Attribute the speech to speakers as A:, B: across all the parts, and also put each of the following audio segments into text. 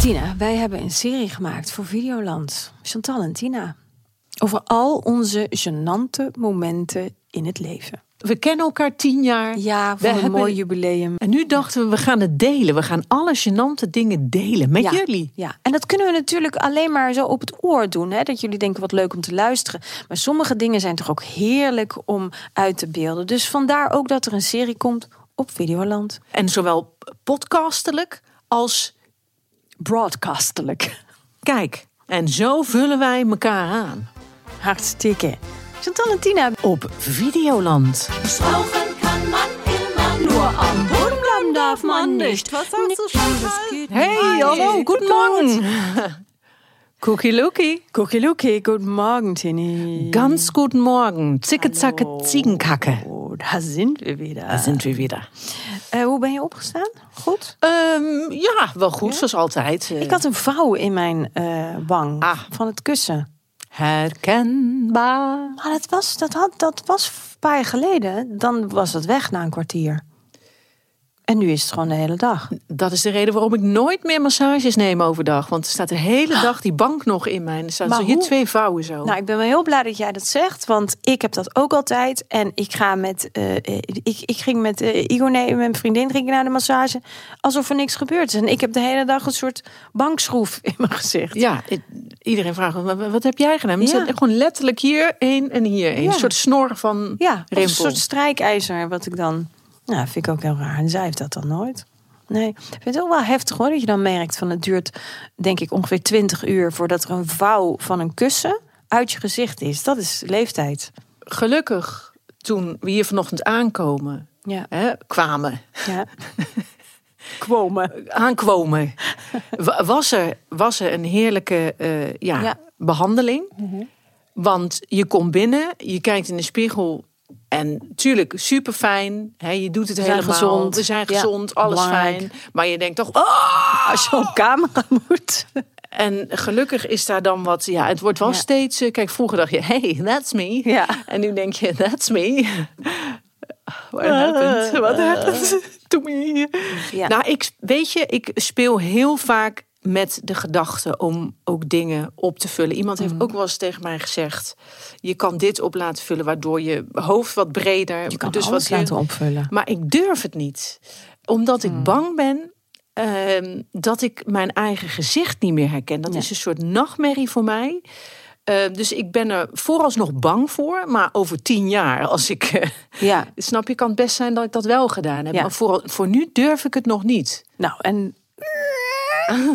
A: Tina, wij hebben een serie gemaakt voor Videoland. Chantal en Tina. Over al onze genante momenten in het leven.
B: We kennen elkaar tien jaar.
A: Ja,
B: We
A: voor een
B: hebben-
A: mooi jubileum.
B: En nu dachten we, we gaan het delen. We gaan alle gênante dingen delen met
A: Ja,
B: jullie.
A: Ja, en dat kunnen we natuurlijk alleen maar zo op het oor doen. Hè? Dat jullie denken wat leuk om te luisteren. Maar sommige dingen zijn toch ook heerlijk om uit te beelden. Dus vandaar ook dat er een serie komt op Videoland.
B: En zowel podcastelijk als
A: Broadcastelijk.
B: kijk. En zo vullen wij elkaar aan.
A: Hartstikke. Chantal en Tina.
B: Op Videoland.
C: Rauchen kann man immer nur am Boden bleiben darf man nicht. Was sagst du schon?
B: Hey, hallo, guten Morgen. Cookie Lookie.
A: Kokeluke, good morgen, Tini.
B: Ganz guten Morgen. Zicke zacke ziegenkacke.
A: Oh, daar zijn we
B: Da
A: weer.
B: sind wir wieder.
A: Eh, hoe ben je opgestaan? Goed?
B: Ehm, ja, wel goed, zoals altijd.
A: Ik had een vouw in mijn eh, wang
B: Eh. Ah.
A: van het kussen.
B: Herkenbaar.
A: Maar dat was, dat, had, dat was een paar jaar geleden. Dan was het weg na een kwartier. En nu is het gewoon de hele dag.
B: Dat is de reden waarom ik nooit meer massages neem overdag. Want er staat de hele dag die bank nog in mijn. Er staan
A: Maar
B: zo hier
A: hoe-
B: twee vouwen zo.
A: Nou, ik ben wel heel blij dat jij dat zegt, want ik heb dat ook altijd. En ik ga met, eh, eh, ik, ik ging met eh, Igor, nee, mijn vriendin, ging ik naar de massage, alsof er niks gebeurd is. En ik heb de hele dag een soort bankschroef in mijn gezicht.
B: ja, i- iedereen vraagt, "Wa- wa- wat heb jij gedaan? Maar
A: Ja.
B: het zit Gewoon letterlijk hier één en hier één.
A: Ja.
B: Een soort snor van
A: Ja, of een
B: rimpel.
A: soort strijkijzer, wat ik dan, nou, vind ik ook heel raar. En zij heeft dat dan nooit. Nee, ik vind het ook wel heftig hoor, dat je dan merkt van het duurt, denk ik, ongeveer 20 uur voordat er een vouw van een kussen uit je gezicht is. Dat is leeftijd.
B: Gelukkig, toen we hier vanochtend aankomen,
A: Ja,
B: hè, kwamen,
A: ja. Kwome.
B: aankwomen, wa- was er, was er een heerlijke eh, ja,
A: Ja. Mhm.
B: behandeling. Want je komt binnen, je kijkt in de spiegel. En tuurlijk, super fijn. Je doet het
A: zijn
B: helemaal.
A: gezond.
B: We zijn
A: Ja,
B: gezond, alles
A: belangrijk.
B: fijn. Maar je denkt toch. "Ah!"
A: Als je op camera moet.
B: En gelukkig is daar dan wat. Ja, het wordt wel
A: Ja.
B: steeds. eh, Kijk, vroeger dacht je: hey, that's me.
A: Ja.
B: En nu denk je: that's me. What happened? What
A: Eh.
B: happened to me?
A: Ja.
B: Nou, ik, weet je, ik speel heel vaak met de gedachte om ook dingen op te vullen. Iemand heeft
A: Mm.
B: ook wel eens tegen mij gezegd... je kan dit op laten vullen, waardoor je hoofd wat breder...
A: Je kan dus
B: dus wat
A: alles laten Mm. opvullen.
B: Maar ik durf het niet. Omdat ik bang ben ehm, dat ik mijn eigen gezicht niet meer herken. Dat
A: Ja.
B: is een soort nachtmerrie voor mij. Eh, dus ik ben er vooralsnog bang voor. Maar over tien jaar, als ik... eh,
A: Ja,
B: snap je, kan het best zijn dat ik dat wel gedaan heb.
A: Ja.
B: Maar voor, voor nu durf ik het nog niet.
A: nou en...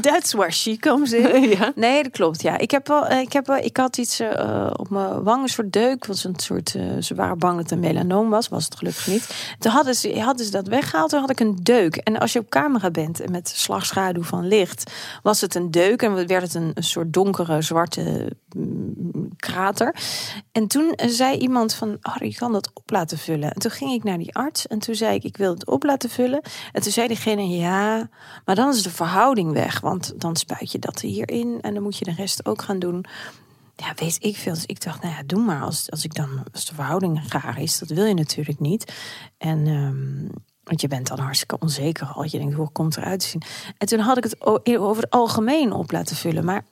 A: That's where she comes in.
B: ja.
A: Nee, dat klopt. Ja, ik heb wel, eh, ik heb wel, ik had iets eh, op mijn wang, een soort deuk, was een soort. eh, ze waren bang dat het een melanoom was, was het gelukkig niet. Toen hadden ze, hadden ze dat weggehaald, toen had ik een deuk. En als je op camera bent en met slagschaduw van licht, was het een deuk en werd het een, een soort donkere zwarte mm, krater. En toen eh, zei iemand van, oh, je kan dat op laten vullen. En toen ging ik naar die arts en toen zei ik, ik wil het op laten vullen. En toen zei diegene, ja, maar dan is de verhouding weg. Want dan spuit je dat er hierin en dan moet je de rest ook gaan doen. Ja, weet ik veel. Dus ik dacht, nou ja, doe maar. Als, als, ik dan, als de verhouding raar is, dat wil je natuurlijk niet. En... ehm, want je bent dan hartstikke onzeker al. Je denkt, hoe komt het eruit te zien? En toen had ik het o- over het algemeen op laten vullen. Maar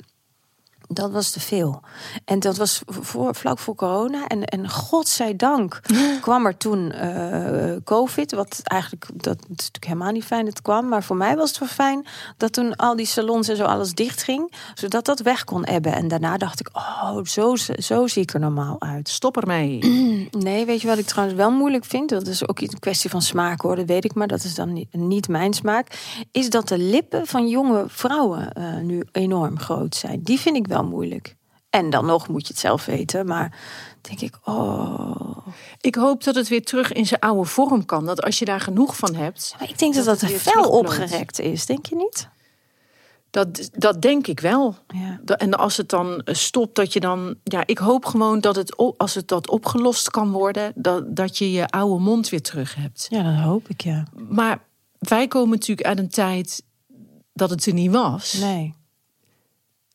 A: dat was te veel. En dat was voor, vlak voor corona. En, en godzijdank kwam er toen eh, COVID. Wat eigenlijk, dat is natuurlijk helemaal niet fijn dat het kwam. Maar voor mij was het wel fijn dat toen al die salons en zo alles dicht ging. Zodat dat weg kon ebben. En daarna dacht ik, oh, zo, zo zie ik er normaal uit.
B: Stop ermee.
A: Nee, weet je wat ik trouwens wel moeilijk vind? Dat is ook iets- een kwestie van smaak hoor, dat weet ik, maar dat is dan niet, niet mijn smaak. Is dat de lippen van jonge vrouwen eh, nu enorm groot zijn. Die vind ik wel moeilijk. En dan nog moet je het zelf weten, maar denk ik, oh.
B: Ik hoop dat het weer terug in zijn oude vorm kan. Dat als je daar genoeg van hebt,
A: Maar ik denk dat
B: Dat
A: dat,
B: het
A: er
B: weer
A: fel
B: terugkomt.
A: opgerekt is, denk je niet?
B: dat, dat denk ik wel.
A: Ja.
B: Da- En als het dan eh, stopt, dat je dan. Ja, ik hoop gewoon dat het, o- als het dat opgelost kan worden, dat, dat je je oude mond weer terug hebt.
A: Ja, dat hoop ik ja.
B: Maar wij komen natuurlijk uit een tijd dat het er niet was.
A: Nee.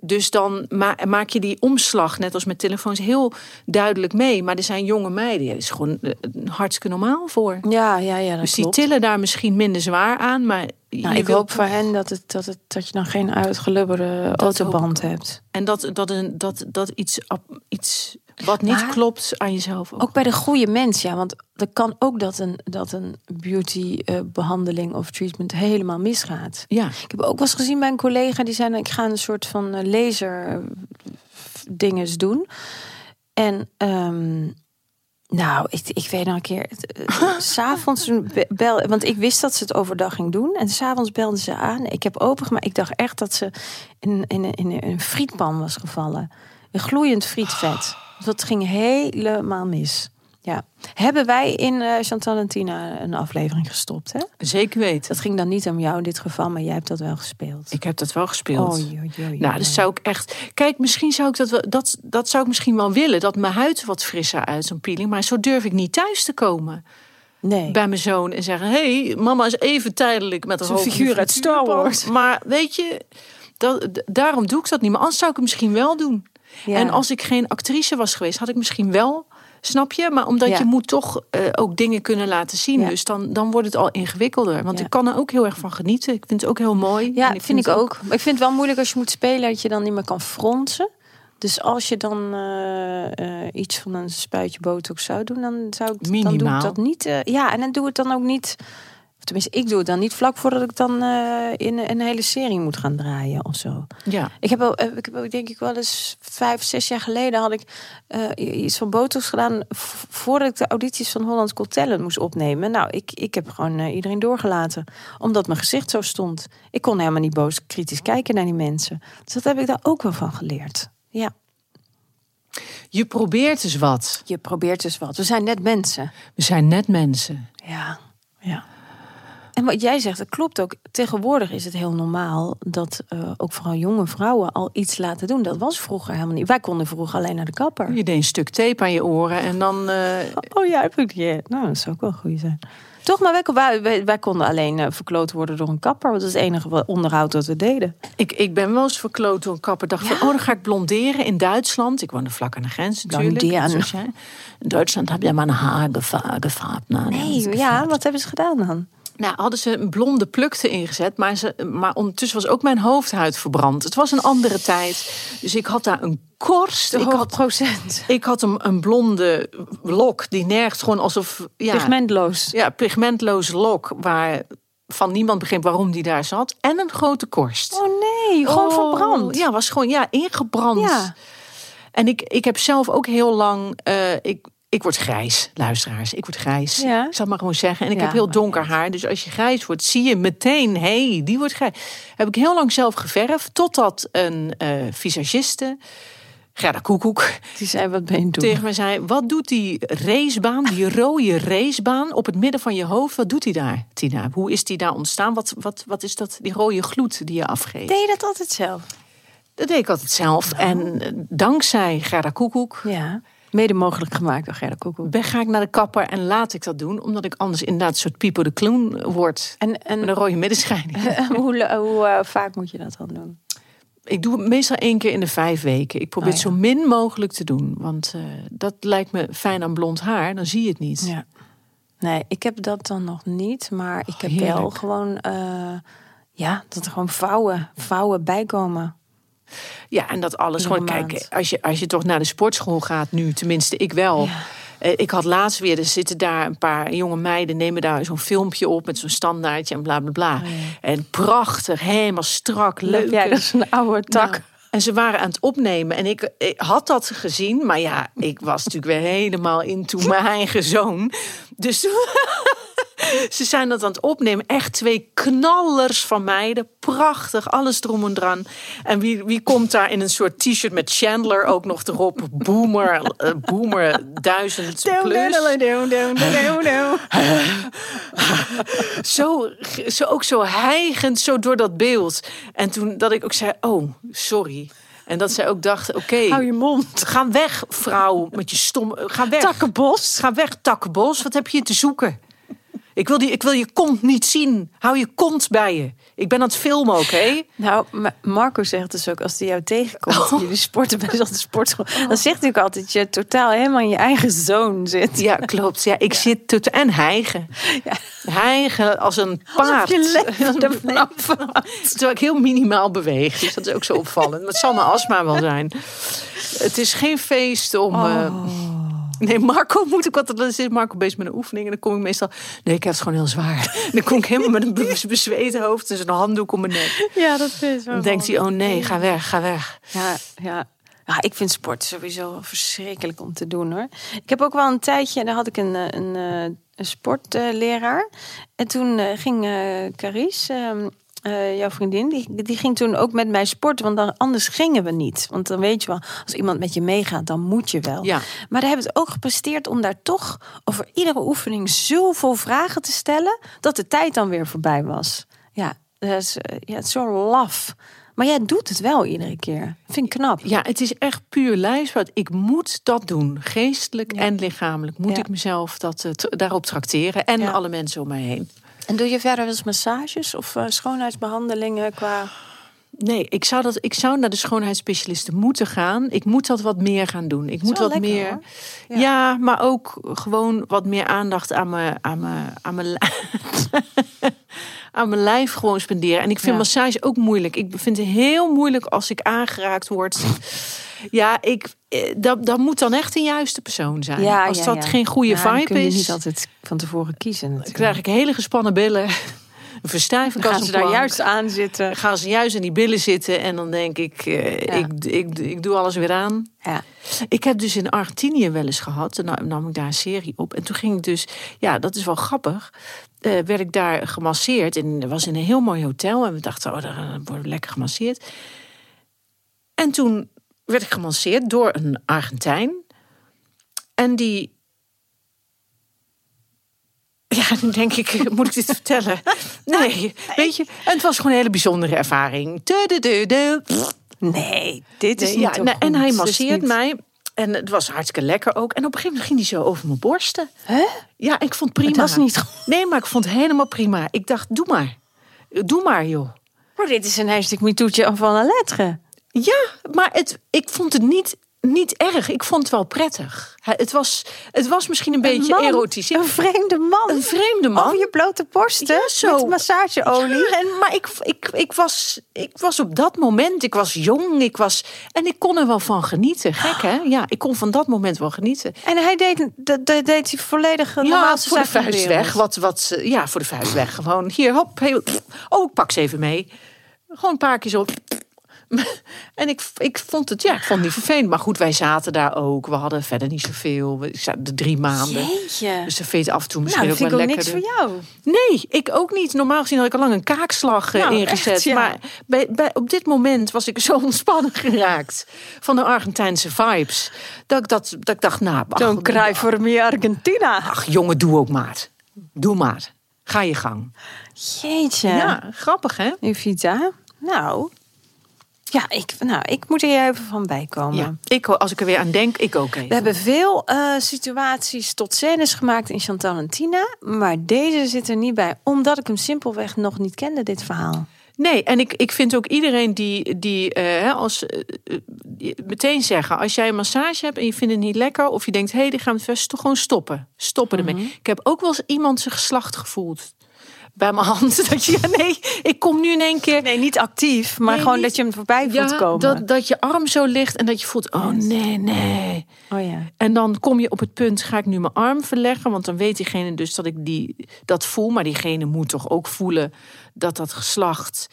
B: Dus dan ma- maak je die omslag, net als met telefoons, heel duidelijk mee. Maar er zijn jonge meiden, ja, dat is gewoon eh, hartstikke normaal voor.
A: Ja, ja, ja, dat
B: Dus die
A: klopt.
B: tillen daar misschien minder zwaar aan, maar
A: Nou,
B: je
A: ik
B: wil-
A: hoop voor hen dat, het, dat, het, dat je dan geen uitgelubberde autoband hebt.
B: En dat, dat, een- dat, dat iets, ap- iets wat niet
A: Maar-
B: klopt aan jezelf ook.
A: Ook bij de goede mens, ja. Want dat kan ook dat een, dat een beauty-behandeling of treatment helemaal misgaat.
B: Ja,
A: Ik heb ook wel eens gezien bij een collega die zei: nou, Ik ga een soort van eh, laser dinges doen. En ehm, nou, ik, ik weet nog een keer. het, eh, S'avonds toen be- bel, want ik wist dat ze het overdag ging doen. En s'avonds belden ze aan. Ik heb opengemaakt. Ik dacht echt dat ze in, in, in, in een frietpan was gevallen. Een gloeiend frietvet. Dat ging helemaal mis. Ja. Hebben wij in eh Chantal en Tina een aflevering gestopt, hè?
B: zeker weten.
A: Dat ging dan niet om jou in dit geval, maar jij hebt dat wel gespeeld.
B: Ik heb dat wel gespeeld.
A: Oh, joh, joh, joh,
B: nou,
A: joh.
B: dat zou ik echt. Kijk, misschien zou ik dat wel. Dat, dat zou ik misschien wel willen. Dat mijn huid wat frisser uit zo'n peeling. Maar zo durf ik niet thuis te komen
A: Nee.
B: bij mijn zoon en zeggen: Hé, hey, mama is even tijdelijk met een
A: Zo'n
B: hoofd in de
A: figuur uit Star
B: frituurpan."
A: Wars.
B: Maar weet je, dat, d- daarom doe ik dat niet. Maar anders zou ik het misschien wel doen.
A: Ja.
B: En als ik geen actrice was geweest, had ik misschien wel. Snap je? Maar omdat
A: Ja.
B: je moet toch eh, ook dingen kunnen laten zien.
A: Ja.
B: Dus dan, dan wordt het al ingewikkelder. Want
A: Ja.
B: ik kan er ook heel erg van genieten. Ik vind het ook heel mooi.
A: Ja,
B: En
A: vind, ik
B: het
A: ook. Maar ik vind het wel moeilijk als je moet spelen dat je dan niet meer kan fronsen. Dus als je dan eh, eh, iets van een spuitje botox zou doen, dan zou ik, dan doe ik
B: Minimaal.
A: dat niet. eh, ja, en dan doe ik het dan ook niet. of Tenminste, ik doe het dan niet vlak voordat ik dan eh, in een hele serie moet gaan draaien of zo.
B: Ja.
A: Ik heb, wel- eh, ik heb ook denk ik wel eens vijf, zes jaar geleden had ik eh, iets van botox gedaan v- voordat ik de audities van Holland Got Talent moest opnemen. Nou, ik, ik heb gewoon eh, iedereen doorgelaten, omdat mijn gezicht zo stond. Ik kon helemaal niet boos kritisch kijken naar die mensen. Dus dat heb ik daar ook wel van geleerd. Ja,
B: Je probeert dus wat.
A: je probeert dus wat. We zijn net mensen.
B: We zijn net mensen.
A: Ja, ja. En wat jij zegt, dat klopt ook. Tegenwoordig is het heel normaal dat eh, ook vooral jonge vrouwen al iets laten doen. Dat was vroeger helemaal niet. Wij konden vroeger alleen naar de kapper.
B: Je deed een stuk tape aan je oren en dan. eh,
A: Oh ja, heb ik die. Nou, dat zou ook wel goed zijn. Toch, maar wij, wij- wij, wij konden alleen eh, verkloot worden door een kapper. Want dat is het enige wat- onderhoud dat we deden.
B: ik, ik ben wel eens verkloot door een kapper. Dacht van, oh, dan ga ik blonderen in Duitsland. Ik woonde vlak aan de grens natuurlijk.
A: Blonderen.
B: zoals jij. In Duitsland heb je mijn haar geva- gefaapt. Nou,
A: Nee, ja, wat hebben ze gedaan dan?
B: Nou, hadden ze een blonde plukte ingezet, maar, ze, maar ondertussen was ook mijn hoofdhuid verbrand. Het was een andere tijd, dus ik had daar een korst. Ik had,
A: procent.
B: ik had een, een blonde lok die nergens gewoon alsof... Ja,
A: Pigmentloos.
B: Ja, pigmentloze lok waar van niemand begreep waarom die daar zat. En een grote korst.
A: Oh nee, gewoon
B: Oh,
A: verbrand.
B: Ja, was gewoon ja, ingebrand.
A: Ja.
B: En ik, ik heb zelf ook heel lang... eh, ik, ik word grijs, luisteraars. Ik word grijs.
A: Ja.
B: Ik zal het maar gewoon zeggen. En ik
A: Ja,
B: heb heel
A: maar-
B: donker haar. Dus als je grijs wordt, zie je meteen... Hé, hey, die wordt grijs. Heb ik heel lang zelf geverfd. Totdat een eh, visagiste... Gerda Koekoek
A: Die zei, wat ben je aan het doen?
B: tegen mij zei: Wat doet die racebaan, die rode racebaan op het midden van je hoofd? Wat doet die daar, Tina? Hoe is die daar ontstaan? Wat, wat, wat is dat, die rode gloed die je afgeeft?
A: Deed je dat altijd zelf?
B: Dat deed ik altijd zelf.
A: Oh.
B: En eh, dankzij Gerda Koekoek
A: Ja. Mede mogelijk gemaakt door Gerda Koekoek.
B: ben, ga ik naar de kapper en laat ik dat doen, omdat ik anders inderdaad een soort Pipo de Kloen word.
A: En, en
B: Met een rode middenschijn.
A: hoe, le- hoe eh, vaak moet je dat dan doen?
B: Ik doe het meestal één keer in de vijf weken. Ik probeer
A: Oh, ja.
B: het zo min mogelijk te doen. Want eh, dat lijkt me fijn aan blond haar. Dan zie je het niet.
A: Ja. Nee, ik heb dat dan nog niet, maar ik
B: Oh,
A: heb wel
B: heerlijk.
A: gewoon, eh, ja, dat er gewoon vouwen, vouwen bij komen.
B: Ja, en dat alles
A: Iedere
B: gewoon. Kijk,
A: maand.
B: als je, als je toch naar de sportschool gaat nu, tenminste ik wel. Eh, Ik had laatst weer, er zitten daar een paar jonge meiden, nemen daar zo'n filmpje op met zo'n standaardje en bla bla bla.
A: Oh,
B: En prachtig, helemaal strak, leuk.
A: Ja, dat is dus een oude tak.
B: Nou, en ze waren aan het opnemen en ik, ik had dat gezien, maar ja, ik was natuurlijk weer helemaal into mijn eigen zoon. Dus toen- ze zijn dat aan het opnemen. Echt twee knallers van meiden, prachtig, alles erom en dran. En wie, wie komt daar in een soort t-shirt met Chandler ook nog erop? Boomer, eh, boomer, duizend plus. Zo, zo, ook zo hijgend, zo door dat beeld. En toen dat ik ook zei, oh, sorry. En dat zij ook dacht, oké,
A: Hou je mond.
B: ga weg, vrouw, met je stom... Ga weg,
A: Takkenbos.
B: ga weg, takkenbos. Wat heb je te zoeken? Ik wil, die, ik wil je kont niet zien. Hou je kont bij je. Ik ben aan het filmen, oké?
A: Nou, Ma- Marco zegt dus ook als hij jou
B: Oh.
A: tegenkomt, jullie sporten bij zo'n sportschool, dan zegt hij ook altijd dat je totaal helemaal in je eigen zone zit.
B: Ja, klopt. Ja, ik zit tot en hijgen. Hijgen als een paard.
A: Alsof je leven er vanaf
B: Terwijl ik heel minimaal beweeg. Dus dat is ook zo opvallend. Maar het zal mijn astma wel zijn. Het is geen feest om.
A: Oh.
B: eh, Nee, Marco moet ik wat. Dan zit Marco bezig met een oefening. En dan kom ik meestal. Nee, ik heb het gewoon heel zwaar. En dan kom ik helemaal met een be- bezweet hoofd. Dus een handdoek om mijn nek.
A: Ja, dat is
B: Dan denkt hij: oh nee, ga weg, ga weg.
A: Ja, ja. Ja, ik vind sport sowieso verschrikkelijk om te doen hoor. Ik heb ook wel een tijdje, daar had ik een, eh, een, eh, een sportleraar. En toen eh, ging eh Carice, ehm, eh, jouw vriendin, die, die ging toen ook met mij sporten. Want dan, anders gingen we niet. Want dan weet je wel, als iemand met je meegaat, dan moet je wel.
B: Ja.
A: Maar daar hebben we het ook gepresteerd om daar toch over iedere oefening zoveel vragen te stellen. dat de tijd dan weer voorbij was. Ja, dat is, eh, ja het is zo laf. Maar jij doet het wel iedere keer. Vind ik knap.
B: Ja, het is echt puur lijfsbouw. Ik moet dat doen, geestelijk en lichamelijk. Moet
A: Ja.
B: ik mezelf dat, eh, t- daarop tracteren en
A: Ja.
B: alle mensen om mij heen.
A: En doe je verder wel eens massages of eh, schoonheidsbehandelingen qua.
B: Nee, ik zou, dat, ik zou naar de schoonheidsspecialisten moeten gaan. Ik moet dat wat meer gaan doen. Ik moet
A: wel
B: wat
A: lekker,
B: meer.
A: hoor.
B: Ja. maar ook gewoon wat meer aandacht aan mijn, aan mijn, aan mijn, li- aan mijn lijf gewoon spenderen. En ik vind
A: Ja.
B: massage ook moeilijk. Ik vind het heel moeilijk als ik aangeraakt word. Ja, ik, eh, dat, dat moet dan echt een juiste persoon zijn. als dat geen goede
A: Ja, dan
B: vibe
A: kun je
B: is.
A: niet altijd van tevoren kiezen.
B: Dan
A: Natuurlijk.
B: krijg ik hele gespannen billen. Een verstijving
A: Dan
B: als
A: gaan
B: een
A: ze daar
B: plank.
A: juist aan zitten.
B: Dan eh, gaan ze juist in die billen zitten. En dan denk ik, eh,
A: Ja.
B: ik, ik, ik doe alles weer aan.
A: Ja.
B: Ik heb dus in Argentinië wel eens gehad. En dan nam ik daar een serie op. En toen ging ik dus, ja, dat is wel grappig. eh, werd ik daar gemasseerd. En dat was in een heel mooi hotel. En we dachten, oh, daar worden we lekker gemasseerd. En toen werd ik gemasseerd door een Argentijn. En die. Ja, dan denk ik, moet ik dit vertellen? Nee, weet je. En het was gewoon een hele bijzondere ervaring. Tudududu.
A: Nee, dit is
B: Nee,
A: niet
B: ja,
A: zo
B: nou, En
A: goed.
B: hij
A: Dit is
B: masseert
A: niet-
B: mij. En het was hartstikke lekker ook. En op een gegeven moment ging hij zo over mijn borsten.
A: Hè?
B: Ja, ik vond het prima.
A: Dat is niet goed.
B: Nee, maar ik vond het helemaal prima. Ik dacht, doe maar. Doe maar, joh.
A: Maar dit is een hashtag metoetje van een lettre.
B: Ja, maar het, ik vond het niet, niet erg. Ik vond het wel prettig. Hij- Het was, het was misschien een, beetje
A: man,
B: erotisch.
A: Een vreemde man.
B: Een vreemde man.
A: Over je blote borsten.
B: Ja, zo.
A: Met massageolie.
B: Ja, en, maar ik, ik, ik, was, ik was op dat moment, ik was jong, ik was, en ik kon er wel van genieten. Gek, hè? Ja, ik kon van dat moment wel genieten.
A: En hij deed, dat, dat deed hij volledig eh,
B: Ja,
A: normaalste
B: voor de
A: zaak van
B: vuist
A: wereld.
B: weg. Wat, wat, eh, ja, voor de vuist weg. Gewoon hier, hop. Heel, oh, ik pak ze even mee. Gewoon een paar keer zo. En ik, ik vond het, ja, ik vond het niet vervelend. Maar goed, wij zaten daar ook. We hadden verder niet zoveel. We zaten er drie maanden.
A: Jeetje.
B: Dus dan vind je het af en toe misschien
A: nou, dat vind
B: ook
A: ik
B: wel
A: ook
B: lekker.
A: niks voor jou.
B: Nee, ik ook niet. Normaal gezien had ik al lang een kaakslag eh,
A: Nou,
B: ingezet.
A: echt, ja.
B: Maar bij, bij, op dit moment was ik zo ontspannen geraakt van de Argentijnse vibes. Dat ik, dat, dat ik dacht, nou, ach,
A: Zo'n kraai voor me Argentina.
B: Ach, jongen, doe ook maar. Doe maar. Ga je gang.
A: Jeetje.
B: grappig hè?
A: Evita. Nou. Ja, ik, nou, ik moet er even van bijkomen.
B: Ja. Ik, als ik er weer aan denk, ik ook
A: We
B: even.
A: hebben veel eh, situaties tot scènes gemaakt in Chantal en Tina. Maar deze zit er niet bij. Omdat ik hem simpelweg nog niet kende, dit verhaal.
B: Nee, en ik, ik vind ook iedereen die, die eh, hè, als, eh, eh, die- meteen zeggen... als jij een massage hebt en je vindt het niet lekker... of je denkt, hé, hey, die gaan we verst, toch gewoon stoppen. Stoppen ermee. Ik heb ook wel eens iemand zijn geslacht gevoeld. Bij mijn hand. Dat je, ja, nee, ik kom nu in één keer...
A: Nee, niet actief, maar
B: Nee,
A: gewoon
B: niet-
A: dat je hem voorbij voelt
B: ja,
A: komen.
B: dat, dat je arm zo ligt en dat je voelt, oh nee, nee.
A: Oh ja.
B: En dan kom je op het punt, ga ik nu mijn arm verleggen? Want dan weet diegene dus dat ik die, dat voel. Maar diegene moet toch ook voelen dat dat geslacht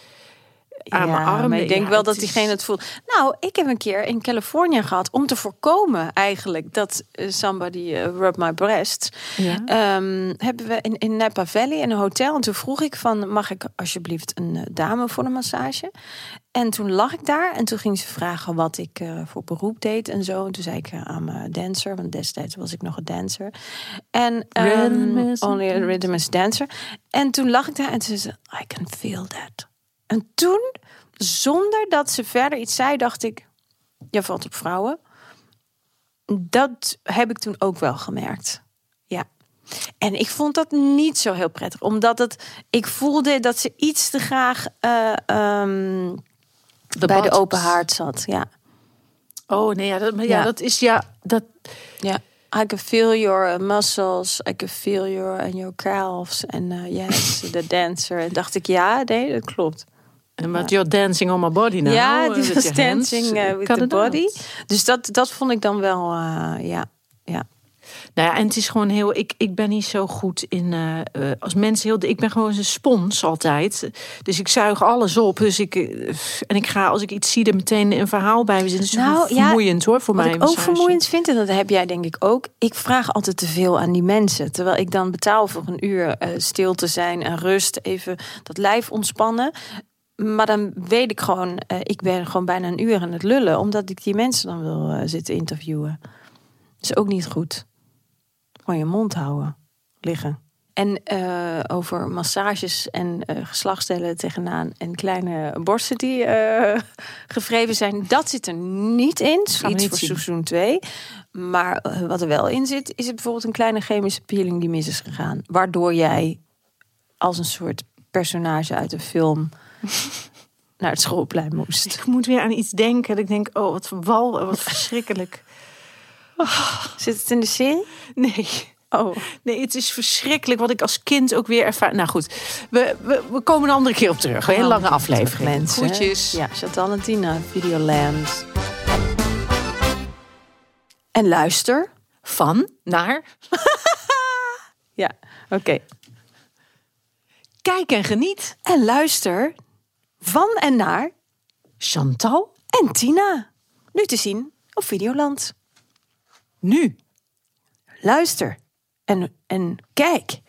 B: aan mijn arm...
A: maar ik denk
B: Ja,
A: wel dat
B: is-
A: diegene het voelt. Nou, ik heb een keer in Californië gehad om te voorkomen eigenlijk dat eh, somebody eh, rub my breast.
B: Ja.
A: Ehm, hebben we in, in Napa Valley in een hotel. En toen vroeg ik van, mag ik alsjeblieft een eh, dame voor een massage? En toen lag ik daar en toen ging ze vragen wat ik eh, voor beroep deed en zo. En toen zei ik eh, I'm a dancer, want destijds was ik nog een dancer. En ehm,
B: Rhythm is a
A: only a rhythm is a dancer. En toen lag ik daar en ze zei, I can feel that. En toen, zonder dat ze verder iets zei, dacht ik, je valt op vrouwen. Dat heb ik toen ook wel gemerkt. Ja. En ik vond dat niet zo heel prettig, omdat het, ik voelde dat ze iets te graag eh, ehm, bij de
B: botox.
A: open haard zat. Ja.
B: Oh nee, ja, dat, maar ja,
A: Ja.
B: dat is ja. Dat,
A: Ja. I can feel your uh, muscles, I can feel your and your calves and uh, yes, the dancer. En dacht ik, ja, nee, dat klopt.
B: en wat you're dancing on my body now.
A: ja,
B: eh,
A: die
B: with
A: was
B: your hands.
A: dancing eh, with
B: Kan
A: the
B: het dat?
A: body. Dus dat, dat vond ik dan wel, eh, ja, ja.
B: Nou ja, en het is gewoon heel. Ik, ik ben niet zo goed in. eh, eh, als mensen heel. Ik ben gewoon een spons altijd. Dus ik zuig alles op. Dus ik. eh, en ik ga als ik iets zie, er meteen een verhaal bij verzinnen. Dus
A: Nou,
B: nou,
A: ja,
B: vermoeiend hoor voor
A: Wat
B: mij.
A: ik
B: een
A: ook
B: massage.
A: vermoeiend vind, en dat heb jij denk ik ook. Ik vraag altijd te veel aan die mensen. Terwijl ik dan betaal voor een uur eh, stil te zijn en rust, even dat lijf ontspannen. Maar dan weet ik gewoon, eh, ik ben gewoon bijna een uur aan het lullen, omdat ik die mensen dan wil eh, zitten interviewen. is ook niet goed. Gewoon je mond houden, liggen. En eh, over massages en eh geslachtsdelen tegenaan en kleine borsten die eh, gevreven zijn, dat zit er niet in. Iets
B: we niet
A: voor
B: zien.
A: seizoen 2. Maar eh, wat er wel in zit, is het bijvoorbeeld een kleine chemische peeling die mis is gegaan. Waardoor jij als een soort personage uit een film naar het schoolplein moest.
B: Dus Ik moet weer aan iets denken. Dat ik denk, oh, wat wal, wat verschrikkelijk.
A: Zit het in de serie?
B: Nee.
A: Oh.
B: Nee, het is verschrikkelijk wat ik als kind ook weer ervaar. Nou goed, we, we, we komen een andere keer op terug. Een hele lange aflevering.
A: Mensen.
B: Groetjes.
A: Ja, Chantal en Tina, Videoland. En luister.
B: Van naar
A: Ja, oké.
B: kijk en geniet.
A: En luister van en naar
B: Chantal,
A: en Tina. Nu te zien op Videoland.
B: nu.
A: Luister en, en kijk.